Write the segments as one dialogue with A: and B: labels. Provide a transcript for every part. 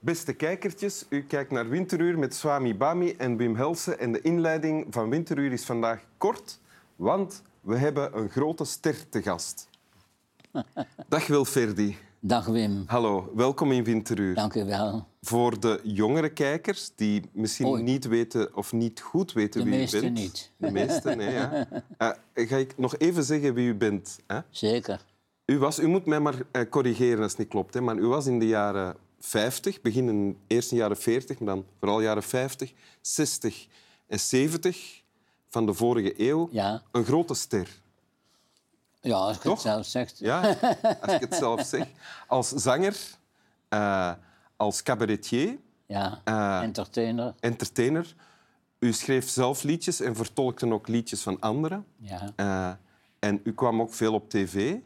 A: Beste kijkertjes, u kijkt naar Winteruur met Swami Bami en Wim Helsen. En de inleiding van Winteruur is vandaag kort, want we hebben een grote ster te gast. Dag Wilferdi.
B: Dag Wim,
A: Hallo, welkom in Winteruur.
B: dank u wel.
A: Voor de jongere kijkers die misschien
B: Oei.
A: niet weten of niet goed weten
B: De
A: wie u
B: meesten
A: bent.
B: niet.
A: De meesten, nee, ja. Eh, ga ik nog even zeggen wie u bent. Hè?
B: Zeker.
A: U, was, u moet mij maar eh, corrigeren als het niet klopt, hè, maar u was in de jaren 50, begin in de eerste jaren 40, maar dan vooral jaren 50, 60 en 70 van de vorige eeuw
B: Ja,
A: een grote ster.
B: ja als ik
A: Toch?
B: het zelf zeg.
A: Ja, als ik het zelf zeg. Als zanger, eh, als cabaretier,
B: Ja,
A: eh,
B: entertainer.
A: entertainer. U schreef zelf liedjes en vertolkte ook liedjes van anderen.
B: Ja,
A: Eh, en u kwam ook veel op tv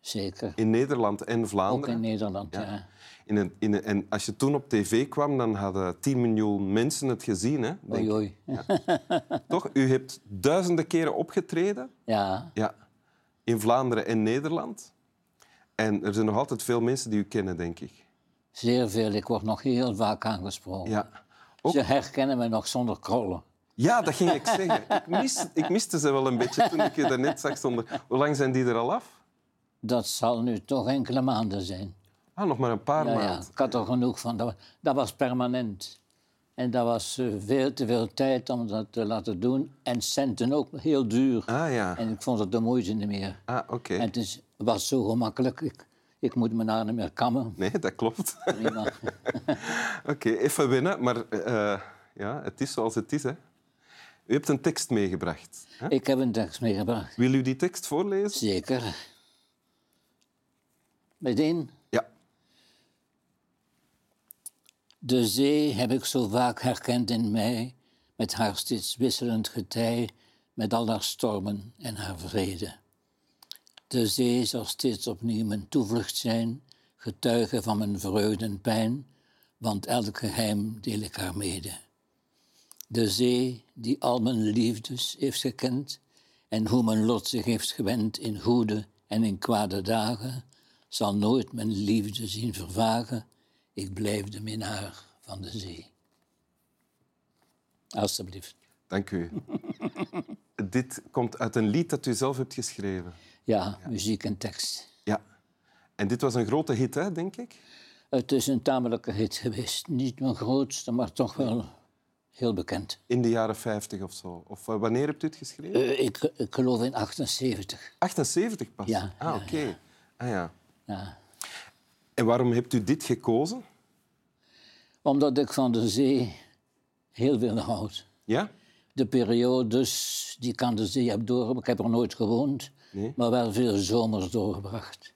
B: zeker.
A: in Nederland en
B: Ook
A: Vlaanderen.
B: in Nederland, ja.
A: In een, in een- en als je toen op tv kwam, dan hadden 10 miljoen mensen het gezien. Hè? Denk,
B: Oei, oei. Ja.
A: Toch? U hebt duizenden keren opgetreden ja, in Vlaanderen en Nederland. En er zijn nog altijd veel mensen die u kennen, denk ik.
B: zeer veel. Ik word nog heel vaak aangesproken.
A: Ja, ook-
B: Ze herkennen me nog zonder krollen.
A: ja dat ging ik zeggen. Ik, mis, ik miste ze wel een beetje toen ik je daarnet zag zonder... Hoe lang zijn die er al af?
B: Dat zal nu toch enkele maanden zijn.
A: Ah, nog maar een paar
B: Ja, ja,
A: maanden.
B: ik had er genoeg van. Dat, wa- dat was permanent. En dat was eh, veel te veel tijd om dat te laten doen. En centen ook heel duur.
A: Ah ja,
B: En ik vond het de moeite niet meer.
A: ah, oké.
B: En het is, was zo gemakkelijk. Ik, ik moet mijn haar niet meer kammen.
A: Nee, dat klopt.
B: Prima.
A: Oké, even winnen, maar eh, ja, het is zoals het is. Hè. U hebt een tekst meegebracht. Hè?
B: ik heb een tekst meegebracht.
A: Wil u die tekst voorlezen?
B: Zeker. Meteen,
A: Ja.
B: de zee heb ik zo vaak herkend in mij, met haar steeds wisselend getij, met al haar stormen en haar vrede. De zee zal steeds opnieuw mijn toevlucht zijn, getuige van mijn vreugde en pijn, want elk geheim deel ik haar mede. De zee die al mijn liefdes heeft gekend en hoe mijn lot zich heeft gewend in goede en in kwade dagen, zal nooit mijn liefde zien vervagen. Ik blijf de minnaar van de zee. Alsjeblieft.
A: Dank u. Dit komt uit een lied dat u zelf hebt geschreven.
B: Ja, muziek en tekst.
A: Ja. En dit was een grote hit, hè, denk ik?
B: Het is een tamelijke hit geweest. Niet mijn grootste, maar toch wel heel bekend.
A: In de jaren 50 of zo. Of eh, wanneer hebt u het geschreven?
B: Eh, ik, ik geloof in 78.
A: 78 pas?
B: ja,
A: Ah, oké. Ah, ja.
B: Ja.
A: En waarom hebt u dit gekozen?
B: Omdat ik van de zee heel veel houd.
A: Ja?
B: De periodes die ik aan de zee heb doorgebracht, ik heb er nooit gewoond,
A: Nee.
B: maar wel veel zomers doorgebracht.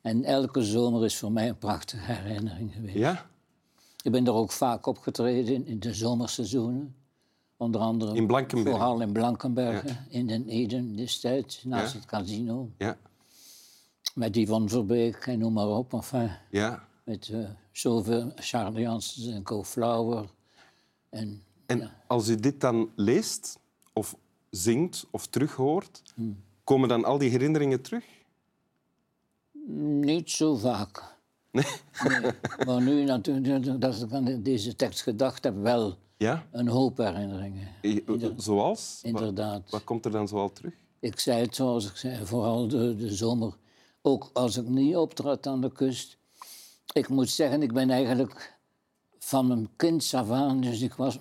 B: En elke zomer is voor mij een prachtige herinnering geweest.
A: Ja?
B: Ik ben er ook vaak opgetreden in- in de zomerseizoenen. Onder andere
A: In Blankenberg.
B: vooral in Blankenberg, in Den Eden destijds, naast
A: Ja.
B: het casino.
A: Ja.
B: Met Yvonne Verbeek en noem maar op. Enfin,
A: Ja.
B: met eh, zoveel Charlie Janssens en Co. Flauwer. En
A: En als u dit dan leest, of zingt, of terughoort,
B: Hmm.
A: komen dan al die herinneringen terug?
B: Niet zo vaak. Nee, Maar nu natuurlijk, dat ik aan deze tekst gedacht heb, wel
A: Ja?
B: een hoop herinneringen.
A: I- Eh, Zoals? Wa-
B: Inderdaad.
A: Wat komt er dan zoal terug?
B: Ik zei het zoals ik zei, vooral de, de zomer. Ook als ik niet optrad aan de kust. Ik moet zeggen, ik ben eigenlijk van mijn kind af aan, dus ik was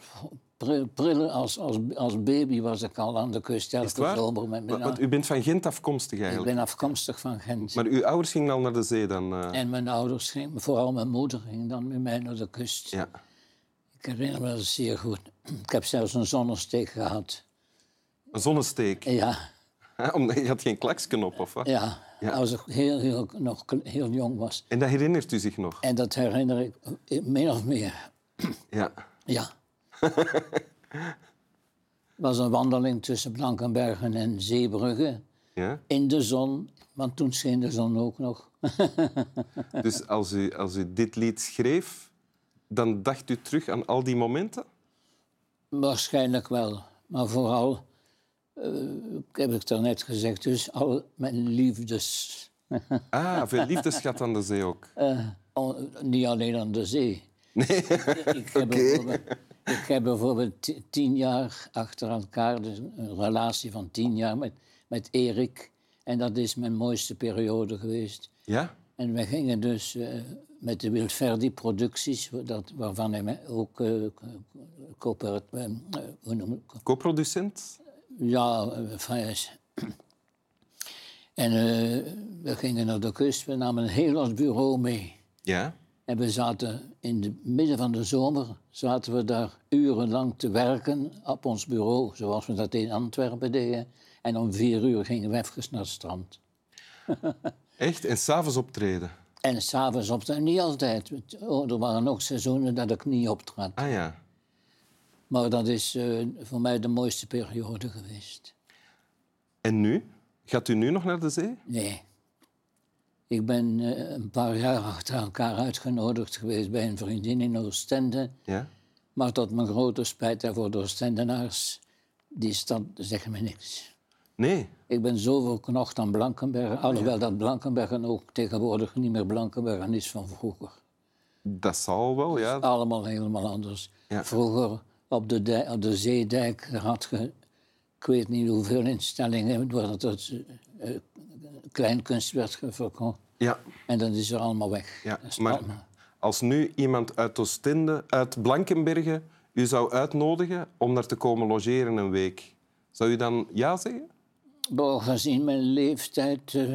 B: pri- prille als, als, als baby was ik al aan de kust
A: Is het
B: elke
A: waar?
B: zomer met
A: Wa-
B: mijn
A: Want u bent van Gent afkomstig
B: Ik
A: eigenlijk.
B: ben afkomstig van Gent.
A: Maar uw ouders gingen al naar de zee dan? eh?
B: En mijn ouders gingen, vooral mijn moeder ging dan met mij naar de kust.
A: Ja.
B: Ik herinner me dat zeer goed. Ik heb zelfs een zonnesteek gehad.
A: Een zonnesteek.
B: Ja,
A: Hè, Omdat je had geen klaksken op, of wat?
B: ja. als ik heel, heel, nog kle- heel jong was.
A: En dat herinnert u zich nog?
B: En dat herinner ik eh, min of meer.
A: Ja.
B: Ja. Het was een wandeling tussen Blankenbergen en Zeebrugge.
A: ja?
B: In de zon, want toen scheen de zon ook nog.
A: Dus als u, als u dit lied schreef, dan dacht u terug aan al die momenten?
B: Waarschijnlijk wel. Maar vooral, eh, heb ik daarnet gezegd, dus al mijn liefdes.
A: Ah, veel liefdeschat aan de zee ook.
B: Eh, al- niet alleen oh, aan de zee.
A: Nee.
B: Ik heb, bijvoorbeeld, ik heb bijvoorbeeld ti- tien jaar achter elkaar, dus een relatie van tien jaar met, met Erik. En dat is mijn mooiste periode geweest.
A: Ja?
B: En we gingen dus eh, met de Wilferdi-producties, dat- waarvan hij mij ook eh, co- coöper- eh, hoe noem ik-
A: Co-producent?
B: ja, eh, fris. En eh, we gingen naar de kust, we namen heel ons bureau mee.
A: Ja.
B: En we zaten in het midden van de zomer, zaten we daar urenlang te werken op ons bureau, zoals we dat in Antwerpen deden. En om vier uur gingen we even naar het strand.
A: Echt? En s'avonds optreden?
B: En s'avonds op de, niet altijd. Oh, er waren ook seizoenen dat ik niet optrad.
A: Ah ja.
B: Maar dat is eh, voor mij de mooiste periode geweest.
A: En nu? Gaat u nu nog naar de zee?
B: Nee. Ik ben eh, een paar jaar achter elkaar uitgenodigd geweest bij een vriendin in Oostende.
A: Ja.
B: Maar tot mijn grote spijt en voor de Oostendenaars, die stad zeggen me niks.
A: Nee.
B: Ik ben zo verknocht aan Blankenbergen, alhoewel dat Blankenbergen ook tegenwoordig niet meer Blankenbergen is van vroeger.
A: Dat zal wel, ja.
B: Allemaal helemaal anders.
A: Ja.
B: Vroeger op de, dijk- op de zeedijk daar had je, ik weet niet hoeveel instellingen, doordat het eh, eh, kleinkunst werd ge- verkocht.
A: Ja.
B: En dat is er allemaal weg.
A: ja.
B: Dat is allemaal-
A: Maar als nu iemand uit Oostende, uit Blankenbergen, u zou uitnodigen om daar te komen logeren een week, zou u dan ja zeggen?
B: Boh, gezien mijn leeftijd, eh,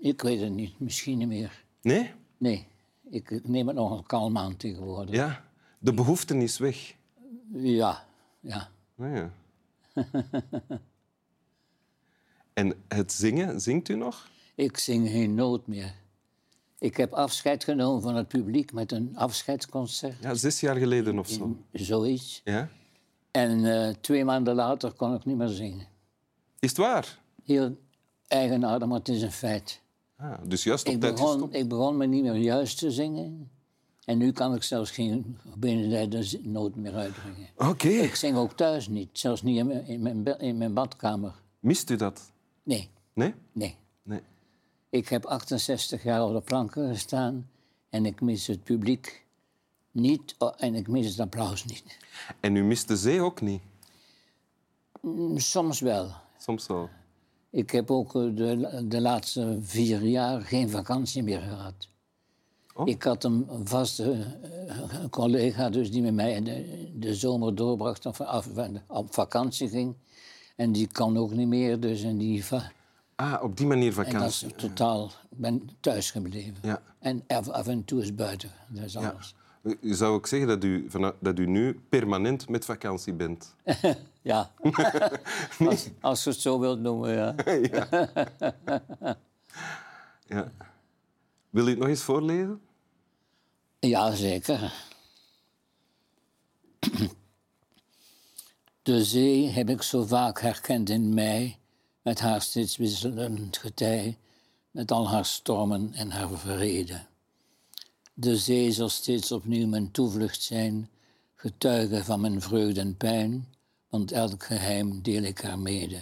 B: ik weet het niet, misschien niet meer.
A: Nee?
B: Nee, ik ik neem het nogal kalm aan tegenwoordig. Ja,
A: Ja. De behoefte is weg.
B: ja. ja.
A: Nou ja. en het zingen, zingt u nog?
B: Ik zing geen noot meer. Ik heb afscheid genomen van het publiek met een afscheidsconcert,
A: Ja, zes jaar geleden of zo.
B: zoiets.
A: Ja.
B: En eh, twee maanden later kon ik niet meer zingen.
A: Is het waar?
B: Heel eigenaardig, maar het is een feit.
A: Ah, dus juist op
B: Ik
A: tijd
B: begon,
A: gestopt.
B: ik begon me niet meer juist te zingen. En nu kan ik zelfs geen benenleide z- noot meer uitbrengen.
A: Oké.
B: Ik zing ook thuis niet, zelfs niet in mijn, in mijn, be- in mijn badkamer.
A: Mist u dat?
B: Nee,
A: Nee?
B: nee.
A: Nee.
B: Ik heb 68 jaar op de planken gestaan en ik mis het publiek niet o- en ik mis het applaus niet.
A: En u mist de zee ook niet?
B: Mm, Soms wel.
A: Soms wel.
B: Ik heb ook eh, de, de laatste vier jaar geen vakantie meer gehad.
A: Oh.
B: Ik had een vaste eh, collega dus die met mij de, de zomer doorbracht of af- op vakantie ging. En die kan ook niet meer, dus en die va-
A: Ah, op die manier
B: en dat is
A: vakantie.
B: totaal, ik ben thuis gebleven.
A: Ja.
B: En af, af en toe is buiten, dat is
A: ja.
B: alles.
A: U zou ook zeggen dat u, vanuit, dat u nu permanent met vakantie bent.
B: Ja, als, als je het zo wilt noemen, ja.
A: Ja. Wil u het nog eens voorlezen?
B: Ja, zeker. De zee heb ik zo vaak herkend in mij, met haar steeds wisselend getij, met al haar stormen en haar vrede. De zee zal steeds opnieuw mijn toevlucht zijn, getuige van mijn vreugde en pijn, want elk geheim deel ik haar mede.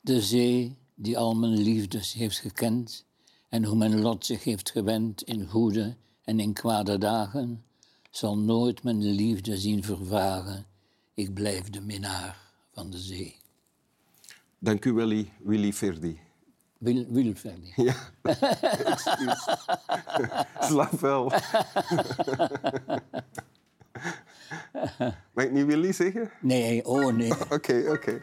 B: De zee die al mijn liefdes heeft gekend en hoe mijn lot zich heeft gewend in goede en in kwade dagen, zal nooit mijn liefde zien vervagen. Ik blijf de minnaar van de zee.
A: Dank u wel, Willy Verdi.
B: Wil, Wilfred.
A: Ja. Excuus. Slaap wel. Mag ik niet Willy zeggen?
B: Nee, oh nee.
A: Oké, oké.